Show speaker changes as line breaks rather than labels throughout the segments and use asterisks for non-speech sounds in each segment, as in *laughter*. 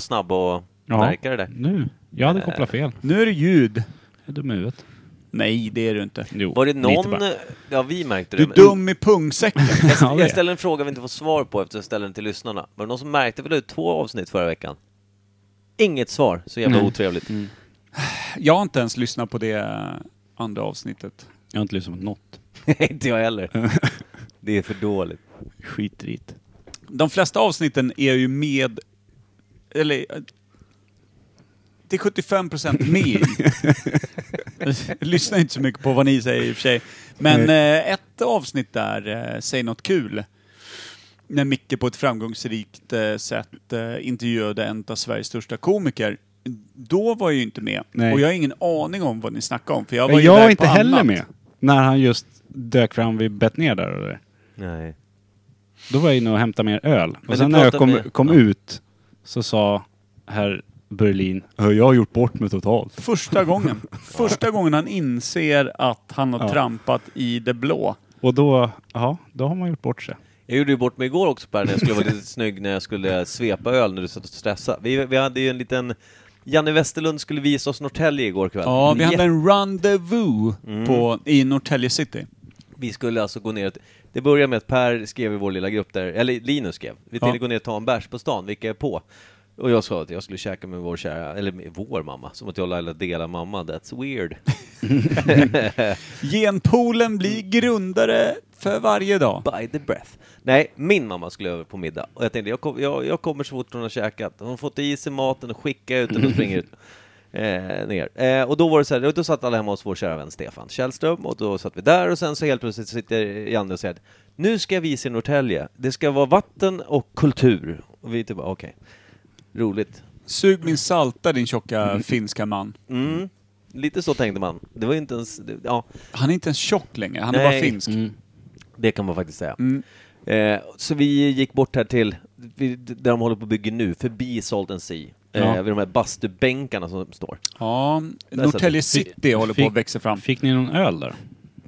snabb och
Ja.
märka det där. Eh,
Nu? Jag hade kopplat fel.
Nu är det ljud.
Jag är dum i huvudet.
Nej, det är du inte.
Jo,
Var det
lite
någon...
bara.
Ja, vi märkte
Du
det.
är dum i pungsäcken.
Jag, st-
Ja, det är.
jag ställer en fråga vi inte får svar på eftersom jag ställer den till lyssnarna. Var det någon som märkte väl ut två avsnitt förra veckan? Inget svar. Så jävla
Nej. Mm.
otrevligt.
*laughs*
*laughs*
Jag har inte ens lyssnat på det andra avsnittet.
Jag har inte lyssnat på något.
inte jag heller. Det är för dåligt.
Skitrit.
De flesta avsnitten är ju med, eller eh, till 75%
*laughs*
med i. Jag lyssnar inte så mycket på vad ni säger i och för sig. Men eh, ett avsnitt där, eh, Säg något kul, när Micke på ett framgångsrikt eh, sätt eh, intervjuade en av Sveriges största komiker. Då var jag ju inte med.
Nej.
Och jag har ingen aning om vad ni snackar om. För jag var
Men
ju
jag
iväg
var
på
inte heller
annat.
med. När han just dök fram vid Bettner där och där.
Nej.
Då var jag inne och hämtade mer öl.
du
Och sen när jag
pratade
kom,
med-
kom
ja.
ut så sa herr Berlin, "Ja, jag har gjort bort mig totalt. *laughs*
Första gången. Första gången han inser att han har
Ja.
trampat i det blå.
Och då, ja, då har man gjort bort sig.
Jag gjorde ju bort mig igår också Per, när jag skulle vara lite snygg när jag skulle svepa öl när du satt och stressade. Vi, vi hade ju en liten... Janne Westerlund skulle visa oss Norrtälje igår kväll.
Ja, vi
Jätte-
hade en rendezvous på, i Norrtälje City.
Vi skulle alltså gå ner till, Det började med att Per skrev i vår lilla grupp där, eller Linus skrev, vi tänkte
Ja.
gå ner och ta en bärs på stan, vilka är på? Och jag sa att jag skulle käka med vår kära, eller med vår mamma, som att jag och Laila delar mamma, that's weird.
Genpoolen blir grundare för varje dag.
By the breath. Nej, min mamma skulle över på middag och jag tänkte jag, kom, jag, jag kommer så fort hon har käkat. Hon har fått i sig maten och skickar ut den och springer *laughs* ut. Eh, ner. Eh, och då var det så här, och då satt alla hemma hos vår kära vän Stefan Källström och då satt vi där och sen så helt plötsligt sitter Janne och säger att nu ska jag visa er Norrtälje. Det ska vara vatten och kultur. Och vi typ bara okej, roligt.
Sug min salta din tjocka finska man.
Mm. Lite så tänkte man. Det var ju inte ens, det- ja.
Han är inte ens tjock längre, han är
Nej. Mm.
bara finsk.
Det kan man faktiskt säga.
Mm.
Eh, så vi gick bort här till, vi, där de håller på att bygga nu, förbi Salt and Sea. Eh,
Ja.
vid de här bastubänkarna som står.
Ja, Norrtälje City håller på att växa fram.
Fick ni någon öl där?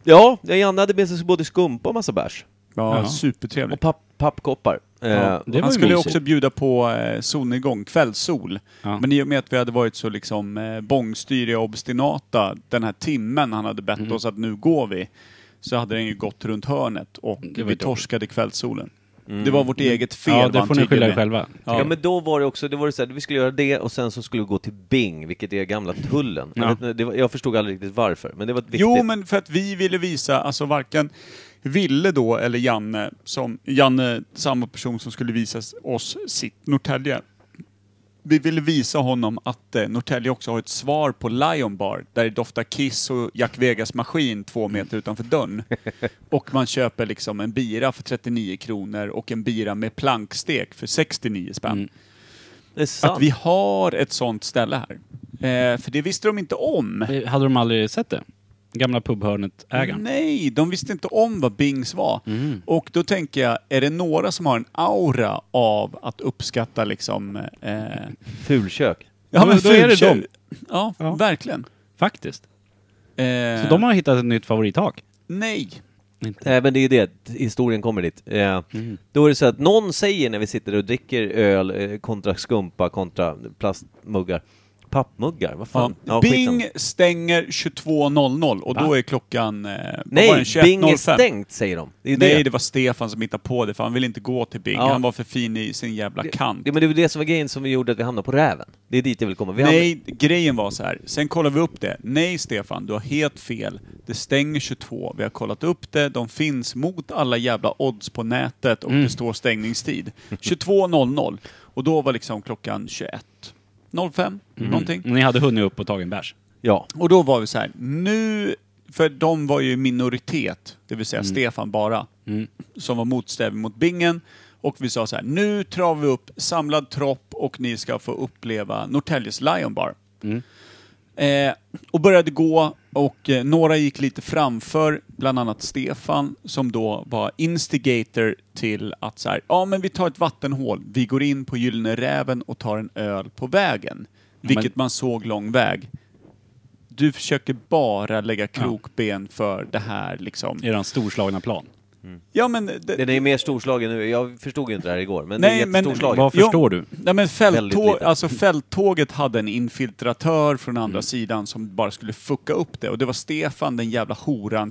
Ja, Janne hade med sig både skumpa och massa bärs.
Ja,
Ja.
supertrevligt.
Och papp, pappkoppar. Eh,
Ja, det var
han
ju
skulle
mysigt.
också bjuda på eh, solnedgång, kvällssol.
Ja.
Men i och med att vi hade varit så liksom eh, bångstyriga och obstinata den här timmen han hade bett
Mm.
oss att nu går vi. Så hade den ju gått runt hörnet och vi
var dåligt.
torskade kvällssolen. Det var vårt eget fel.
Mm. ja,
var
det
han
får ni
tydlig
skylla er
med.
själva.
Ja. men då var det också, det var det så här, vi skulle göra det och sen så skulle vi gå till Bing, vilket är gamla tullen. Jag,
Ja.
vet, inte, det var, jag förstod aldrig riktigt varför, men det var viktigt.
Jo, men för att vi ville visa, alltså varken Ville då eller Janne, som Janne, samma person som skulle visa oss sitt Norrtälje. Vi ville visa honom att eh, Norrtälje också har ett svar på Lion Bar, där det doftar Kiss och Jack Vegas maskin två meter
*laughs*
utanför dörren. Och man köper liksom en bira för 39 kronor och en bira med plankstek för 69 spänn.
det är Mm, sant.
Att vi har ett sånt ställe här. Eh, för det visste de inte om.
Det- Eh, Hade de aldrig sett det? Gamla pubhörnet-ägaren.
Nej, de visste inte om vad Bings var.
Mm.
Och då tänker jag, är det några som har en aura av att uppskatta liksom... Eh,
Fulkök.
då är det
fulkör-
dem.
Ja,
Ja.
verkligen.
Faktiskt.
Eh,
Så de har hittat ett nytt favorithak.
Nej.
Nej Eh, men det är ju det, historien kommer dit. Eh,
Mm.
Då är det så att någon säger när vi sitter och dricker öl eh, kontra skumpa kontra plastmuggar, pappmuggar, vad
Ja.
fan? Ja, skitsamma.
Bing stänger 22.00 och då
Va?
är klockan... Eh, vad var
Nej,
den?
Bing är
21.05.
stängt säger de. Det är ju
Nej,
det.
det var Stefan som hittade på det för han ville inte gå till Bing.
Ja.
Han var för fin i sin jävla kant.
Det, men det var det som var grejen som vi gjorde att vi hamnade på räven. Det är dit jag vill komma. Vi hamnade-
Nej, grejen var så här. Sen kollade vi upp det. Nej, Stefan, du har helt fel. Det stänger 22. Vi har kollat upp det. De finns mot alla jävla odds på nätet och det står stängningstid. 22.00. Och då var liksom klockan 21.05, någonting.
Mm. Ni hade hunnit upp och tagit en bärs.
Ja.
Och då var vi så här. Nu... För de var ju minoritet, det vill säga Stefan bara, som var motstävig mot bingen. Och vi sa så här, nu travar vi upp samlad tropp och ni ska få uppleva Norrtäljes Lion Bar. Eh, och började gå och eh, några gick lite framför, bland annat Stefan som då var instigator till att så här, ja men vi tar ett vattenhål, vi går in på Gyllene Räven och tar en öl på vägen. Vilket man såg lång väg. Du försöker bara lägga krokben för det här liksom.
I den storslagna plan.
Ja, men... Det,
Den är ju mer storslagen nu. Jag förstod ju inte det här igår, men
Nej,
det är
men-
jättestorslagen.
Vad
Jo.
förstår du?
Nej, men
Väldigt
fälttåg,
liten.
alltså fälttåget hade en infiltratör från andra
Mm.
sidan som bara skulle fucka upp det. Och det var Stefan, den jävla horan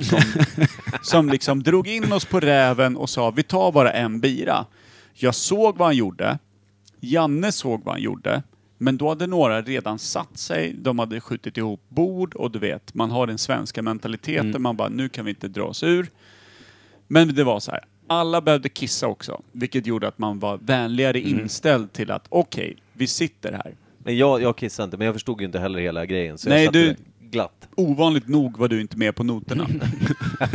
*laughs*
som, som liksom drog in oss på räven och sa vi tar bara en bira. Jag såg vad han gjorde. Janne såg vad han gjorde. Men då hade några redan satt sig, de hade skjutit ihop bord och du vet, man har den svenska mentaliteten,
Mm.
man bara nu kan vi inte dra oss ur. Men det var så här, alla behövde kissa också, vilket gjorde att man var vänligare inställd till att okej, vi sitter här.
Men jag, jag kissade inte, men jag förstod ju inte heller hela grejen, så
Nej,
jag satt
du-
du... glatt. *laughs*
Ovanligt nog var du inte med på noterna.
Ja,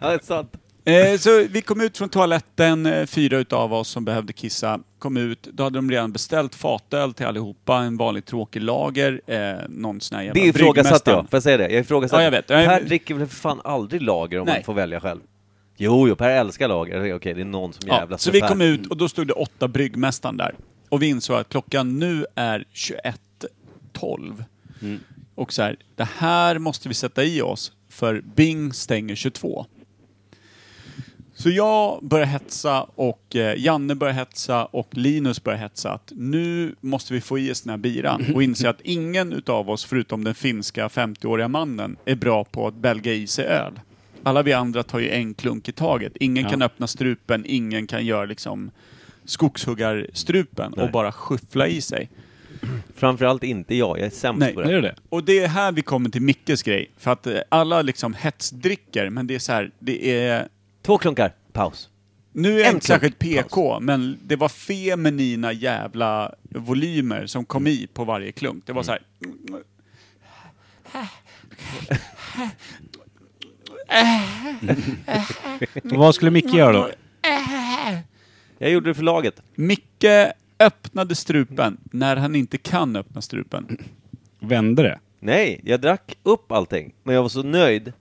det är sant.
eh, så vi kom ut från toaletten, eh, fyra utav oss som behövde kissa kom ut. Då hade de redan beställt fatöl till allihopa, en vanlig tråkig lager, eh, någon sån här jävla
Det ifrågasatte
bryggmästare.
jag, får jag säga det? Jag ifrågasatte.
Ja, jag vet. Jag-
Per dricker väl för fan aldrig lager om
Nej.
man får välja själv? Jo, jo, Per älskar lager. Okej, det är någon som
Ja,
jävlas
så
med
vi
Per.
kom ut och då stod det åtta bryggmästaren där. Och vi insåg att klockan nu är 21.12.
Mm.
Och så här, det här måste vi sätta i oss för Bing stänger 22. Så jag börjar hetsa och eh, Janne börjar hetsa och Linus börjar hetsa att nu måste vi få i oss den här biran och inse att ingen utav oss, förutom den finska 50-åriga mannen, är bra på att bälga i sig öl. Alla vi andra tar ju en klunk i taget. Ingen kan öppna strupen, ingen kan göra liksom skogshuggarstrupen och
Nej.
bara skyffla i sig.
Framförallt inte jag, jag är sämst
Nej.
på
Är
det.
det det?
Och det är här vi kommer till Mickes grej. För att eh, alla liksom hetsdricker, men det är så här, det är
Två klunkar, paus.
Nu är jag inte
Äntligen.
särskilt PK, men det var feminina jävla volymer som kom i på varje klunk.
Mm.
Det var så här...
Vad skulle Micke göra då?
Jag gjorde det för laget.
Micke öppnade strupen när han inte kan öppna strupen.
Vände det?
Nej, jag drack upp allting, men jag var så nöjd.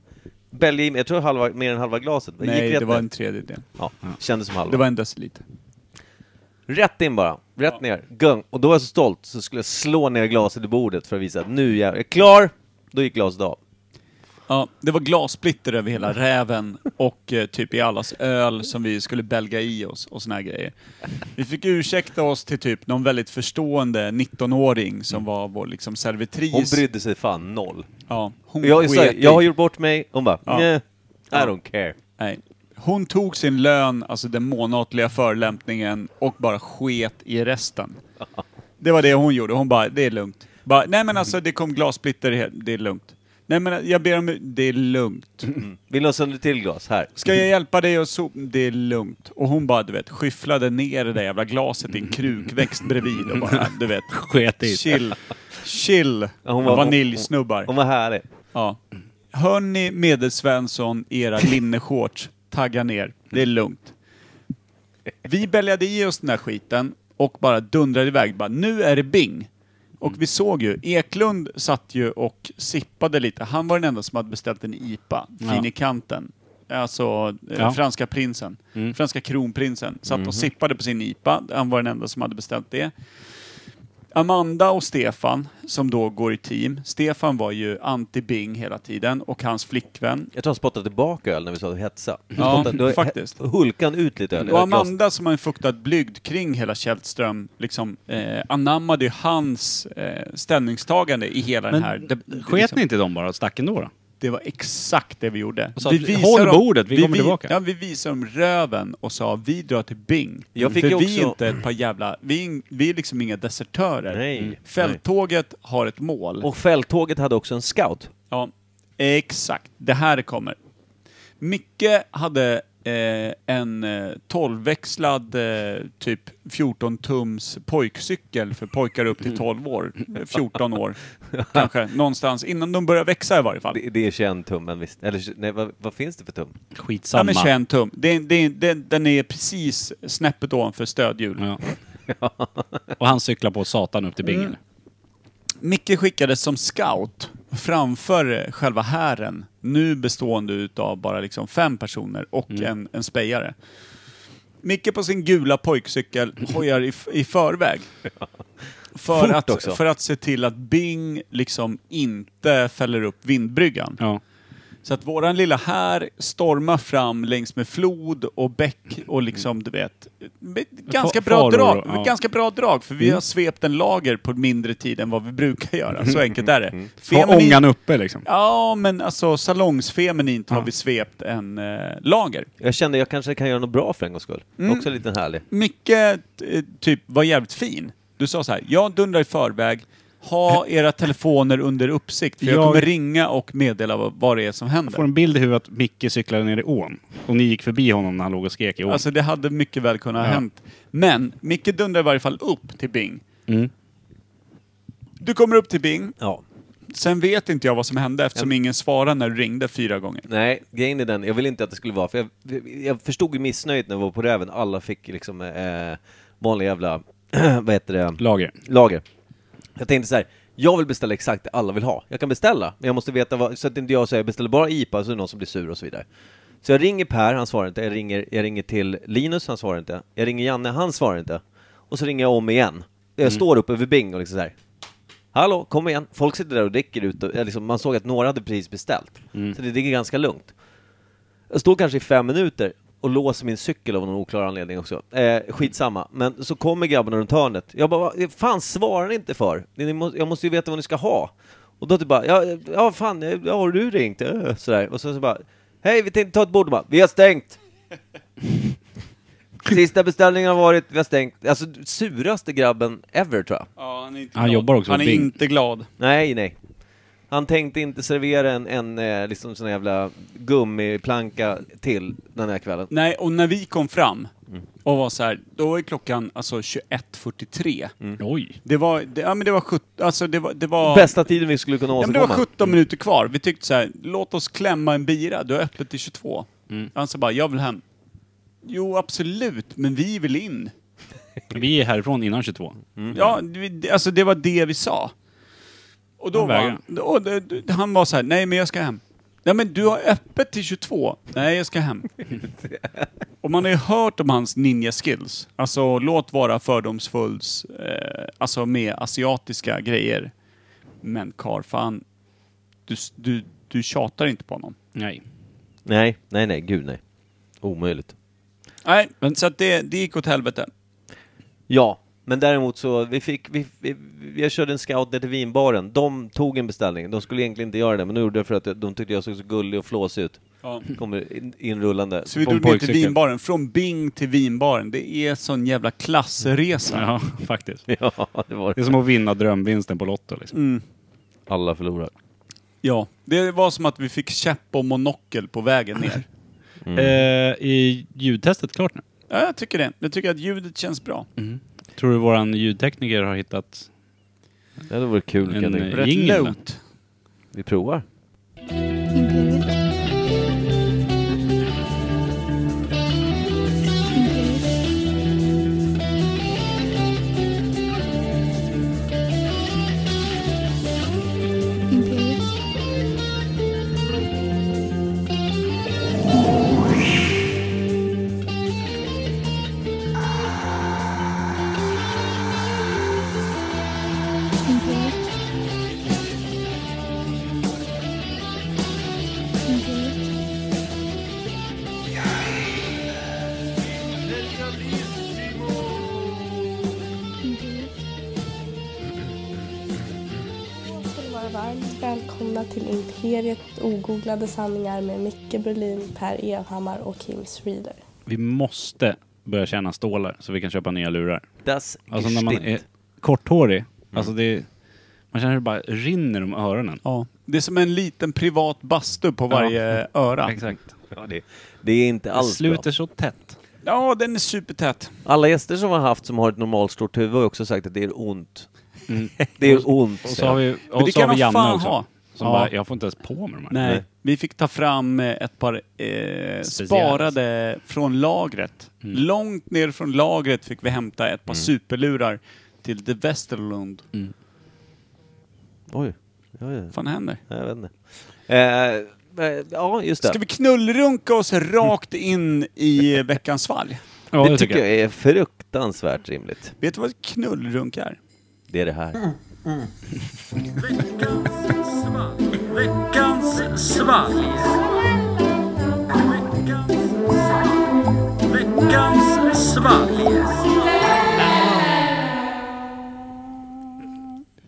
Bälgade i mig, jag tror halva, mer än halva glaset. Jag gick
Nej,
rätt
det var
ner.
en tredjedel.
Ja, kändes som halva.
Det var en deciliter.
Rätt in bara, rätt ner, gung. Och då var jag så stolt så skulle jag slå ner glaset i bordet för att visa att nu jävlar, jag är klar! Då gick glaset av.
Ja, det var glassplitter över hela räven och eh, typ i allas öl som vi skulle bälga i oss och såna här grejer. Vi fick ursäkta oss till typ någon väldigt förstående 19-åring som var vår liksom servitris.
Mm. Hon brydde sig fan noll.
Ja, hon
Och Jag, sa,
sket i-
jag har gjort bort mig, hon bara
Ja.
"Nä, I
Ja.
don't care.
Nej. Hon tog sin lön, alltså den månatliga förolämpningen, och bara sket i resten. Det var det hon gjorde. Hon bara, det är lugnt. Bara, Nej men alltså det kom glassplitter, här. det är lugnt. Nej men jag ber om det är lugnt.
Mm. Vill du ha sönder till glas? Här.
Ska jag hjälpa dig och so Det är lugnt. Och hon bara, du vet, skyfflade ner det där jävla glaset i en krukväxt bredvid och bara,
*laughs*
du vet,
Sket i.
chill. Chill,
Ja, hon var-
vaniljsnubbar.
Hon var härlig.
Ja. Hör ni Medelsvensson
*laughs*
i era linneshorts, tagga ner. Det är
Mm.
lugnt. Vi bäljade i oss den här skiten och bara dundrade iväg. Bara, nu är det bing! Och vi såg ju, Eklund satt ju och sippade lite. Han var den enda som hade beställt en IPA, fin
Ja.
i kanten. Alltså eh,
Ja. Mm. Mhm.
franska prinsen, franska kronprinsen. Satt och sippade på sin IPA. Han var den enda som hade beställt det. Amanda och Stefan, som då går i team. Stefan var ju anti-Bing hela tiden och hans flickvän.
Jag tror han spottade tillbaka öl när vi sa hetsa.
Ja,
Spottade- då he-
faktiskt.
Hulkan ut lite öl. i
Och
ett glas.
Amanda som har en fuktad blygd kring hela Källström, liksom eh, anammade ju hans eh, ställningstagande i hela den här...
Men liksom-
Det, liksom,
sket ni inte dem bara och stack ändå då?
det var exakt det vi gjorde.
Och sa att, "Håll bordet, vi kommer
vi,
tillbaka."
Ja, vi visade dem röven och sa vi drar till Bing.
Jag fick
För
ju
vi är
också-
inte ett par jävla... Vi är, in- vi är liksom inga desertörer.
Nej, nej.
Fälttåget har ett mål.
Och fälttåget hade också en scout.
Ja, exakt. Det här kommer. Micke hade eh, en eh, 12-växlad eh, typ 14-tums pojkcykel för pojkar upp till 12 år. Eh, 14 år kanske. Någonstans innan de börjar växa i varje fall.
Det, det är 21 tum, men visst. Eller nej, vad, vad finns det för tum?
Ja,
Skitsamma.
men 21 tum. Det, det, det, den är precis snäppet ovanför stödhjul.
Ja. *laughs* Och han cyklar på satan upp till bingen.
Micke skickades som scout framför eh, själva hären, nu bestående utav bara liksom fem personer och
Mm.
en, en spejare. Micke på sin gula pojkcykel hojar i, f-
*laughs*
i förväg. För
Fort
att,
också.
för att se till att Bing liksom inte fäller upp vindbryggan.
Ja.
Så att våran lilla här stormar fram längs med flod och bäck och liksom, du vet, med ganska bra
faror,
drag.
ja. Mm.
Ganska bra drag, för vi har svept en lager på mindre tid än vad vi brukar göra. Så enkelt är det.
Mm. Ha
Feminin-
ångan uppe liksom.
Ja, men alltså salongsfeminint har vi svept en eh, lager.
Jag kände jag kanske kan göra något bra för en gångs skull.
Mm.
Också en liten härlig.
Micke eh, typ, var jävligt fin. Du sa så här, jag dundrar i förväg, ha era telefoner under uppsikt för jag,
Jag-
kommer ringa och meddela vad, vad det är som
Jag får
händer.
en bild i huvudet att Micke cyklade ner i ån. Och ni gick förbi honom när han låg och skrek i ån.
Alltså det hade mycket väl kunnat ha
Ja.
hänt. Men Micke dundrar i varje fall upp till Bing.
Mm.
Du kommer upp till Bing,
Ja.
sen vet inte jag vad som hände eftersom ingen svarade när du ringde fyra gånger.
Nej, grejen är den, jag vill inte att det skulle vara, för jag, jag förstod ju missnöjet när vi var på Räven, alla fick liksom eh, vanliga jävla, *clears throat* vad heter det,
Lager.
lager. Jag tänkte så här, jag vill beställa exakt det alla vill ha. Jag kan beställa, men jag måste veta vad, så att inte jag säger jag beställer bara IPA, så är det någon som blir sur och så vidare. Så jag ringer Per, han svarar inte. Jag ringer, jag ringer till Linus, han svarar inte. Jag ringer Janne, han svarar inte. Och så ringer jag om igen. Jag står uppe vid Bing och liksom så här. Hallå, kom igen! Folk sitter där och dricker ute, Eh, liksom, man såg att några hade precis beställt. Så det ligger ganska lugnt. Jag står kanske i fem minuter och låser min cykel av någon oklar anledning också. Eh, skitsamma. Men så kommer grabbarna runt hörnet. Jag bara, "Vad fan svarar ni inte för? Ni må, jag måste ju veta vad ni ska ha. Och då typ bara, ja, ja fan, eh, ja, har du ringt? Eh, Sådär. Och så, så bara, hej vi tänkte ta ett bord. Och bara, vi har stängt! Sista beställningen har varit, vi har stängt. Alltså suraste grabben ever tror jag.
Ja, han är inte
Han glad. jobbar också
Han
på
är
Bing.
inte glad.
Nej, nej. Han tänkte inte servera en, en eh, liksom sån här jävla gummiplanka till den här kvällen.
Nej, och när vi kom fram
Mm.
och var så här, då är klockan alltså 21.43.
Mm. Oj.
Det var, det, ja men det var 17, alltså det var, det var...
Bästa tiden vi skulle kunna
Ja, men det var
åstadkomma.
17 minuter kvar. Vi tyckte så här, låt oss klämma en bira, du har öppet till 22. Han sa bara, jag vill hem. Jo, absolut, men vi vill in.
Vi är härifrån innan 22.
Ja, vi- alltså det var det vi sa. Och då
Han
var
vägrade.
han, och, det- det- han var så här, nej men jag ska hem. Ja men du har öppet till 22. Nej, jag ska hem. och man har ju hört om hans ninja skills. Alltså låt vara fördomsfulls, eh, alltså med asiatiska grejer. Men karl fan, du, s- du, du tjatar inte på honom.
Nej.
Nej, nej, nej, gud nej. Omöjligt.
Nej, men så att det, det gick åt helvete.
Ja, men däremot så, vi fick, vi, vi, vi- jag körde en scout ner till vinbaren. De tog en beställning. De skulle egentligen inte göra det, men de gjorde det för att de tyckte jag såg så gullig och flåsig ut. Kommer in, inrullande.
Så vi
På en
drog ner till
pojkcykel.
vinbaren, från Bing till vinbaren. Det är sån jävla klassresa.
Ja, faktiskt.
*laughs* Ja, det var
Det är som att vinna drömvinsten på Lotto liksom.
Alla förlorar.
Mm, Ja, det var som att vi fick käpp och monokel på vägen ner.
Eh, är ljudtestet klart nu?
Ja, jag tycker det. Jag tycker att ljudet känns bra.
Mm. Tror du våran ljudtekniker har hittat...
Det hade varit kul. kan
En,
jag
eh,
tänka.
Rätt
Jingle.
lugnt.
Vi provar.
Imperial. Imperial. Imperial. Imperial. Imperial.
ska ni vara varmt välkomna till Imperiet ogooglade sanningar med Micke Berlin, Per Evhammar och Kim Schreeder.
Vi måste börja tjäna stålar så vi kan köpa nya lurar.
Das
Alltså när man
gestimmt.
är korthårig, alltså det... Man känner hur det bara rinner om öronen.
Ja. Det är som en liten privat bastu på varje öra.
Exakt.
Ja, det, det är inte
Det
alls bra.
sluter så tätt.
Ja, den är supertät.
Alla gäster som har haft som har ett normalt stort huvud har ju också sagt att det är ont. *laughs* Det är ont.
Mm. Och så
säger
har
de.
vi,
Men det
och så
kan
har vi
man
Janne
fan
också.
ha.
Som
Ja.
bara, jag får inte ens på mig de här.
Nej.
Nej.
Vi fick ta fram eh, ett par eh, sparade från lagret.
Mm.
Långt ner från lagret fick vi hämta ett par superlurar till The Westerlund.
Mm. Oj. Ja, ja.
Vad fan händer?
Jag vet inte. Eh, eh, ja, just det.
Ska vi knullrunka oss rakt in i veckans svalg?
Ja,
det tycker jag är fruktansvärt rimligt.
Vet du vad knullrunk är?
Det är det här.
Veckans svalg. Veckans- Veckans svalg.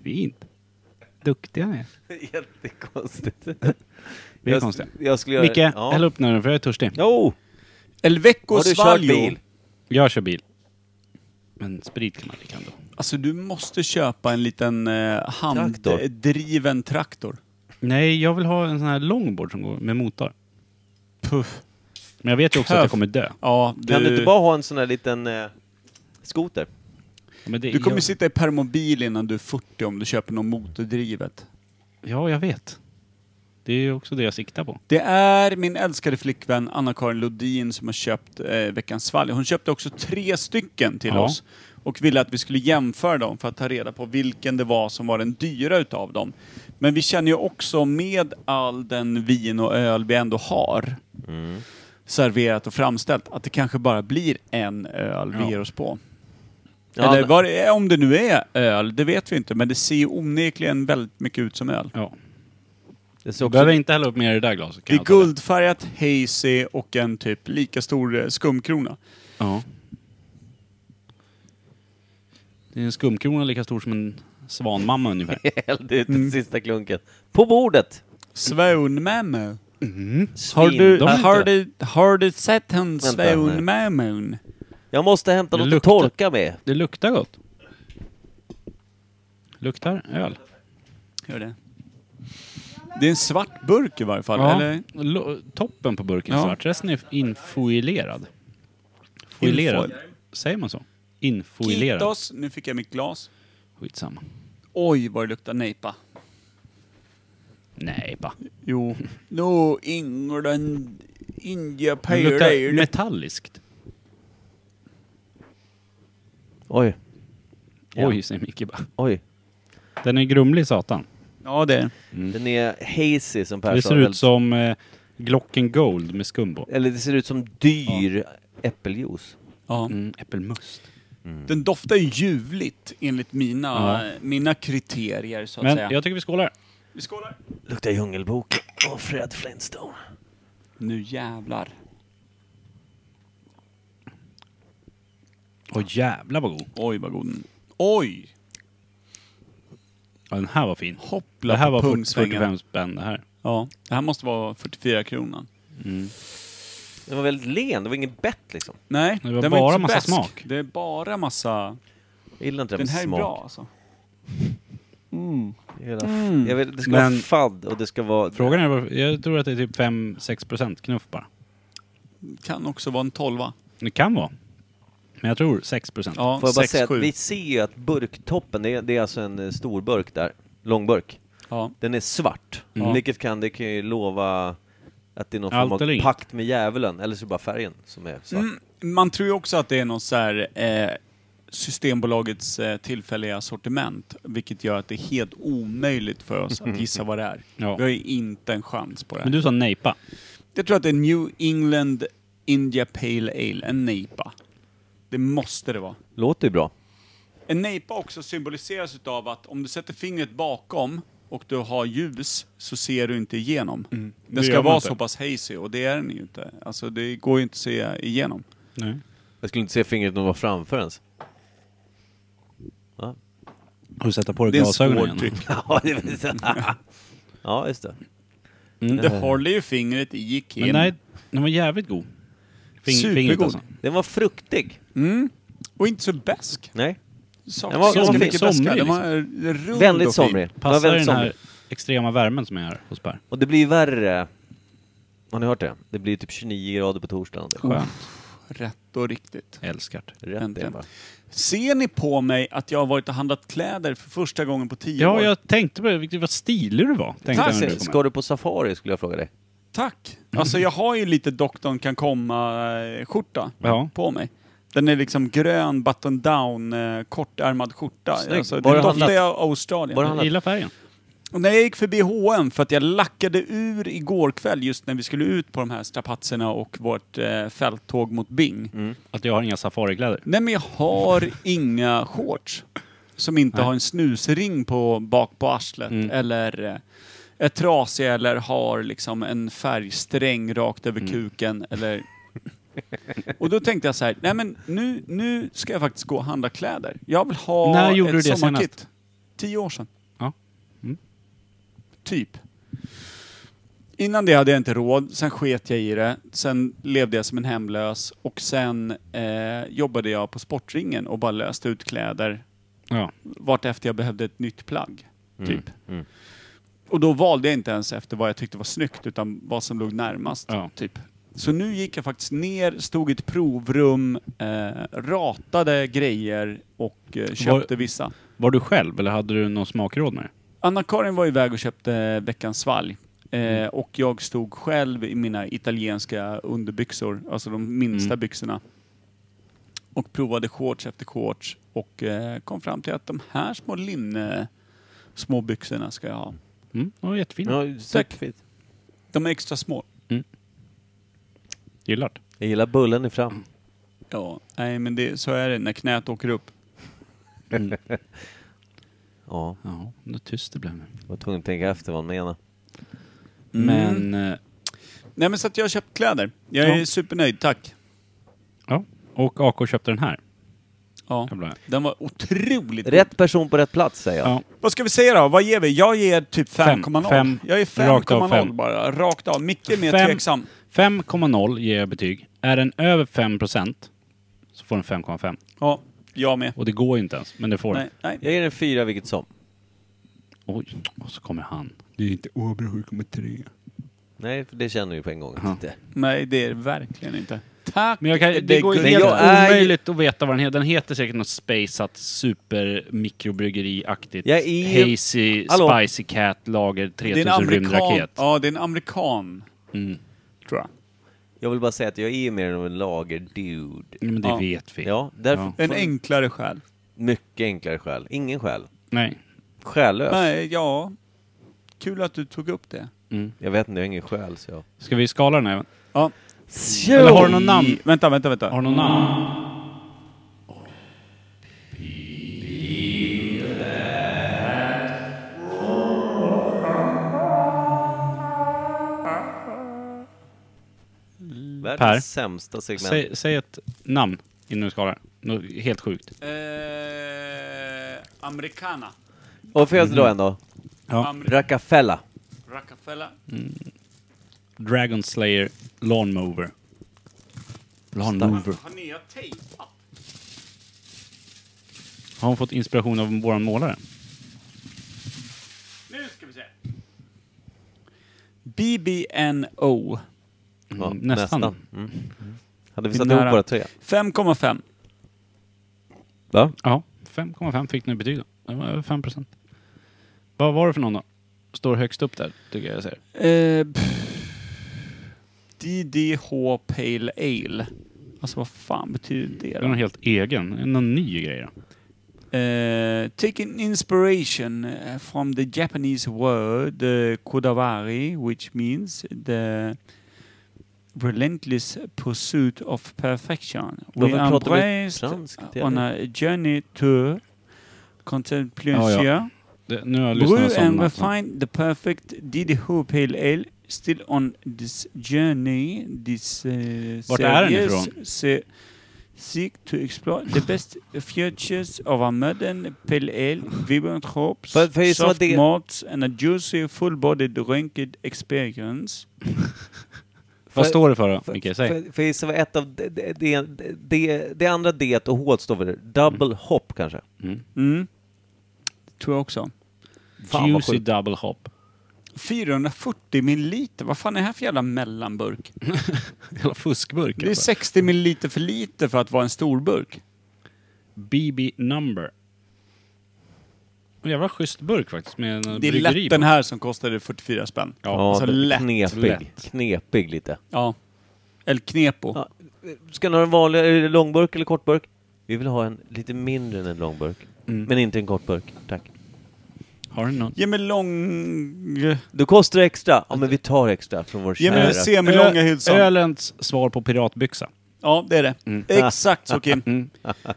Fint. Duktiga ni är.
*laughs* Jättekonstigt.
Vi är
Jag-
konstiga.
jag skulle göra-
Micke,
ja.
häll upp nu för jag är törstig.
Jo!
El Vecco
Har du kört
Svalio.
bil?
Jag kör bil. Men sprit kan man lika ändå.
Alltså du måste köpa en liten eh,
Traktor.
handdriven traktor.
Nej, jag vill ha en sån här longboard som går med motor.
Puff.
Men jag vet ju också att jag
Höf.
kommer dö.
Ja, du,
Kan du inte bara ha en sån här liten eh, skoter?
Ja, Men det,
du kommer
jag,
sitta i permobil innan du är 40 om du köper något motordrivet.
Ja, jag vet. Det är ju också det jag siktar på.
Det är min älskade flickvän Anna-Karin Lodin som har köpt eh, Veckans svalg. Hon köpte också tre stycken till
Ja.
oss och ville att vi skulle jämföra dem för att ta reda på vilken det var som var den dyra utav dem. Men vi känner ju också med all den vin och öl vi ändå har serverat och framställt att det kanske bara blir en öl vi
Ja.
ger oss på.
Ja,
Eller
*laughs* men-
vad det är, om det nu är öl, det vet vi inte, men det ser ju onekligen väldigt mycket ut som öl.
Ja.
Det ser
Du
också...
behöver inte hälla upp mer i det där glaset.
Det
kan
är
jag ta
guldfärgat, hazy och en typ lika stor eh, skumkrona.
Ja. Det är en skumkrona lika stor som en svanmamma
*laughs*
ungefär.
Hällde ut den sista klunken. På bordet!
Svaunmämmö.
Svin.
Har du,
de är inte-
har, du, har du sett en
Vänta, nej.
svaunmämmön?
Jag måste hämta
Det
något
luktar-
att torka med.
Det luktar gott. Luktar öl.
Gör det. Det är en svart burk i varje fall, eller?
Lo- Toppen på burken är
Ja.
svart. Resten är infoilerad. Foilerad. Säger man så? Infoilerad.
Kittos. Nu fick jag mitt glas.
Skitsamma.
Oj, vad det luktar nejpa.
Nej, ba. *laughs*
Jo. No, England, India
Det
Pale
luktar
Ale.
metalliskt.
Oj, Ja.
Oj, säger Micke bara.
oj.
Den är grumlig satan.
Ja, det är det.
Den är hazy som Per
Det
sa.
ser
Eller-
ut som eh, Glocken Gold med skum på.
Eller det ser ut som dyr äppeljuice.
ja.
Mm, äppelmust.
Den doftar ju ljuvligt enligt mina,
Ja.
mina kriterier, så att
Men
säga.
jag tycker vi skålar.
Vi skålar.
Luktar djungelbok och Fred Flintstone.
Nu jävlar.
Åh jävlar vad god.
Oj, vad god den Oj!
Ja, den här var fin.
Hoppla
Det här
på
var 40
pungsvängen.
45 spänn det här.
Ja, det här måste vara 44 kronan.
Den var väldigt len, det var ingen bett liksom.
Nej,
Det var
den
bara
inte så
massa
besk.
smak.
Det är bara massa...
Jag gillar inte det
Den
med
här är
smak.
bra Mm. alltså.
Jag gillar- Jag vill, det ska
Men-
vara fadd och det ska vara...
Frågan är, varför- jag tror att det är typ 5-6 procent knuff bara.
Kan också vara en tolva.
Det kan vara. Men jag tror 6 procent.
Ja,
Får jag bara
sex,
säga att
sju.
vi ser ju att burktoppen, det är, det är alltså en eh, stor burk där, långburk.
Ja.
Den är svart, Mm.
Ja.
vilket kan, det kan ju lova att det är någon
Allt
form
eller
av
inget.
pakt med djävulen, eller så är det bara färgen som är svart.
Mm, man tror ju också att det är något så här... Eh, Systembolagets eh, tillfälliga sortiment, vilket gör att det är helt omöjligt för oss att gissa vad det är.
*laughs* Ja.
Vi har ju inte en chans på det här.
Men du sa nejpa.
Jag tror att det är New England India Pale Ale, en nejpa. Det måste det vara.
Låter ju bra.
En nejpa också symboliseras utav att om du sätter fingret bakom och du har ljus så ser du inte igenom. Den
Mm. Det gör
ska
man
vara
inte.
så pass hazy och det är den ju inte. Alltså det går ju inte att se igenom.
Nej.
Jag skulle inte se fingret när det var framför ens.
Har du sätta på dig
Det är en
glasögonen
svår
igen?
*laughs*
dryck.
Ja, det är väl så. ja, just det.
Du håller ju fingret i kin.
Men nej, den var jävligt god. Fing,
Supergod.
Fingret alltså.
Den var fruktig.
Och inte så besk.
Nej,
Saknas
Den var
ganska
somrig, liksom.
mycket beska.
somrig,
Den var rund
väldigt
och fin.
somrig. Den var
Passar
väldigt
den här
somrig.
extrema värmen som är här hos Per.
Och det blir ju värre. Har ni hört det? Det blir typ 29 grader på torsdagen. Det är skönt.
Skönt.
Rätt och riktigt.
Älskar det.
Rätt det
Äntligen.
bara.
Ser ni på mig att jag har varit och handlat kläder för första gången på tio
Ja,
år?
jag tänkte på det. Vilket- Vad stilig du var. Tänkte
Tack,
jag när du kom
Ska du på safari skulle jag fråga dig.
Tack! Alltså jag har ju lite doktorn kan komma-skjorta
Ja.
på mig. Den är liksom grön button down, eh, kortärmad skjorta.
Snyggt.
Alltså,
Var
den
har du
doftar
handlat?
jag av
Var
Australien.
har
här. Jag gillar färgen.
Och när jag gick förbi H&M för att jag lackade ur igår kväll just när vi skulle ut på de här strapatserna och vårt eh, fälttåg mot Bing.
Mm.
Att jag har inga safarikläder.
Nej men jag har inga
Mm.
shorts som inte har en snusring på, bak på arslet eller eh, är trasiga eller har liksom en färgsträng rakt över
Mm.
kuken eller... Och då tänkte jag så här, nej men nu, nu ska jag faktiskt gå och handla kläder. Jag vill ha
När gjorde
ett
du det
sommarkit.
senast?
Tio år sedan.
Ja. Mm.
Typ. Innan det hade jag inte råd, sen sket jag i det, sen levde jag som en hemlös och sen eh, jobbade jag på Sportringen och bara löste ut kläder
Ja.
vartefter jag behövde ett nytt plagg. Typ.
mm.
Och då valde jag inte ens efter vad jag tyckte var snyggt utan vad som låg närmast.
Ja.
Typ. Så nu gick jag faktiskt ner, stod i ett provrum, eh, ratade grejer och eh, köpte vissa.
Var du själv eller hade du någon smakråd med dig?
Anna-Karin var iväg och köpte veckans svalg.
Mm.
Eh, och jag stod själv i mina italienska underbyxor, alltså de minsta
Mm.
byxorna. Och provade shorts efter shorts och eh, kom fram till att de här små linne små byxorna ska jag ha.
Mm, de var jättefina.
Ja, superfint.
De är extra små.
Gillar det.
Jag gillar bullen i
Mm.
fram.
Ja, nej men det, så är det när knät åker upp.
Ja,
Ja, det är tyst det blev nu.
jag var tvungen att tänka efter vad han menar.
Mm.
Men, eh,
Nej men så att jag har köpt kläder. Jag är
Ja.
supernöjd, tack.
ja. Och AK köpte den här.
Ja.
Jävlar.
Den var otroligt
Rätt person på rätt plats säger jag.
Ja.
Vad ska vi säga då? Vad ger vi? Jag ger typ
Fem.
5,0.
Fem.
Jag är
Rakt av
5,0
fem.
bara. Rakt av. Micke är mer
Fem.
tveksam.
5,0 ger jag betyg. Är den över 5% så får den 5,5.
Ja, jag med.
Och det går ju inte ens, men det får
Nej,
den.
nej.
Jag ger en fyra vilket som.
Oj, och så kommer han. Det är inte över 7,3.
Nej, för det känner du på en gång. att
Ja.
det-
nej, det är det verkligen inte. Tack!
Men jag kan, det, går ju
Men
helt
jag är ju-
omöjligt att veta vad den heter. Den heter säkert något spaceat supermikrobryggeri-aktigt.
Jag är-
Hazy
Hallå?
Spicy Cat Lager
det är en
3000
amerikan.
rymdraket.
Ja, det är en amerikan.
Mm.
Tror jag.
Jag vill bara säga att jag är ju mer av en lagerdude.
Ja, Men det
Ja.
vet vi.
Ja, därför...
Mm. Ja.
En enklare själ.
Mycket enklare själ. Ingen själ.
Nej.
Själlös.
Nej, ja. Kul att du tog upp det.
Mm.
Jag vet inte, jag har ingen själ så jag...
Ska vi skala den här?
Ja.
Eller har du någon namn?
I, vänta, vänta, vänta.
Har du någon namn?
Världens
Per?
sämsta segment.
Säg, säg ett namn innan du skalar. Nå- Helt sjukt.
Eh, americana.
Och får jag dra en då?
Ja.
Amer-
Rockefeller.
Rockefeller.
Dragon Slayer Lawnmover. Lawnmover.
Har ni har tejpat?
Har hon fått inspiration av våran målare?
Nu ska vi se. BBNO.
Ja,
Mm, nästan.
Mm. Hade vi
Det är
satt ihop
nära.
våra tre?
5,5.
Va?
Ja. 5,5 fick den i betyg då. Det var över 5 procent. Vad var det för någon då? Står högst upp där, tycker jag jag ser.
Eh, pff. DDH Pale Ale. Alltså vad fan betyder det
Det är någon
då?
helt egen. Är det Någon ny grej då?
Eh, taking inspiration eh, from the Japanese word eh, kodawari which means the relentless pursuit of perfection.
Men
We
vad pratar vi
embraced
franskt,
on
eller?
a journey to contemplation
Ja, ja. Det, nu har jag lyssnat
Brew
och
and
somnat. så.
refine the perfect DDH Pale Ale still on this journey, this uh,
Vart är den
series se- seek to explore the best futures of our modern Pale Ale, vibrant hops,
För- för just som att
soft
det-
malts and a juicy full-bodied ranked experience.
Vad
För-
står det för då, Micke?
För,
Säg.
för, för gissa vad ett av det, det, det, det, det andra D och H står för double hop kanske?
Mm.
Mm. Tror jag också.
Fan, vad
Juicy
sjukt.
double hop.
440 milliliter, vad fan är det här för jävla mellanburk?
Jävla fuskburk.
Det är
alltså.
60 milliliter för lite för att vara en stor burk.
BB number. En jävla schysst burk faktiskt med en
Det är
bryggeri
lätt den här som kostade 44 spänn.
Ja,
alltså
det-
lätt,
knepig.
lätt.
Knepig lite.
Ja. El Knepo.
Ja. Ska ni ha en vanlig är det långburk eller kortburk? Vi vill ha en lite mindre än en långburk.
Mm.
Men inte en kortburk, tack.
Har du någon?
Ge mig lång...
Du kostar det extra? Ja, men vi tar extra från vår
Ge
kära.
mig en semilånga
Ö-
hylsan.
Ölens svar på piratbyxa.
Ja, det är det.
Mm.
Exakt
*laughs*
så Kim.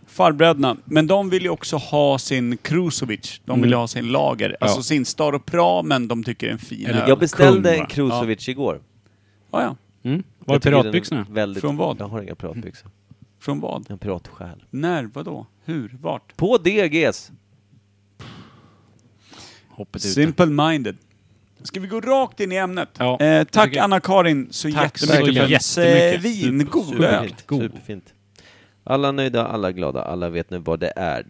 Farbröderna. Men de vill ju också ha sin Krusovic. De
Mm.
vill ju ha sin lager. Alltså sin Star och Pra, men de tycker det är en fin
Eller-
öl.
Jag beställde
Kung,
en
va?
Krusovic igår.
Ja, ja.
Mm. Var är
Jag tycker den är
piratbyxorna? Mm.
Väldigt...
Från vad?
Jag har inga piratbyxor.
Från vad?
Jag har en piratsjäl.
När? Vadå? Hur? Vart?
På DGs!
Hoppet ut.
Simple-minded. Ska vi gå rakt in i ämnet?
Ja,
eh,
jag
tack
tycker-
Anna-Karin så
Tack så
jättemycket för en
jättemycket.
svingod öl.
Superfint.
God.
Superfint. Alla nöjda, alla glada, alla vet nu vad det är.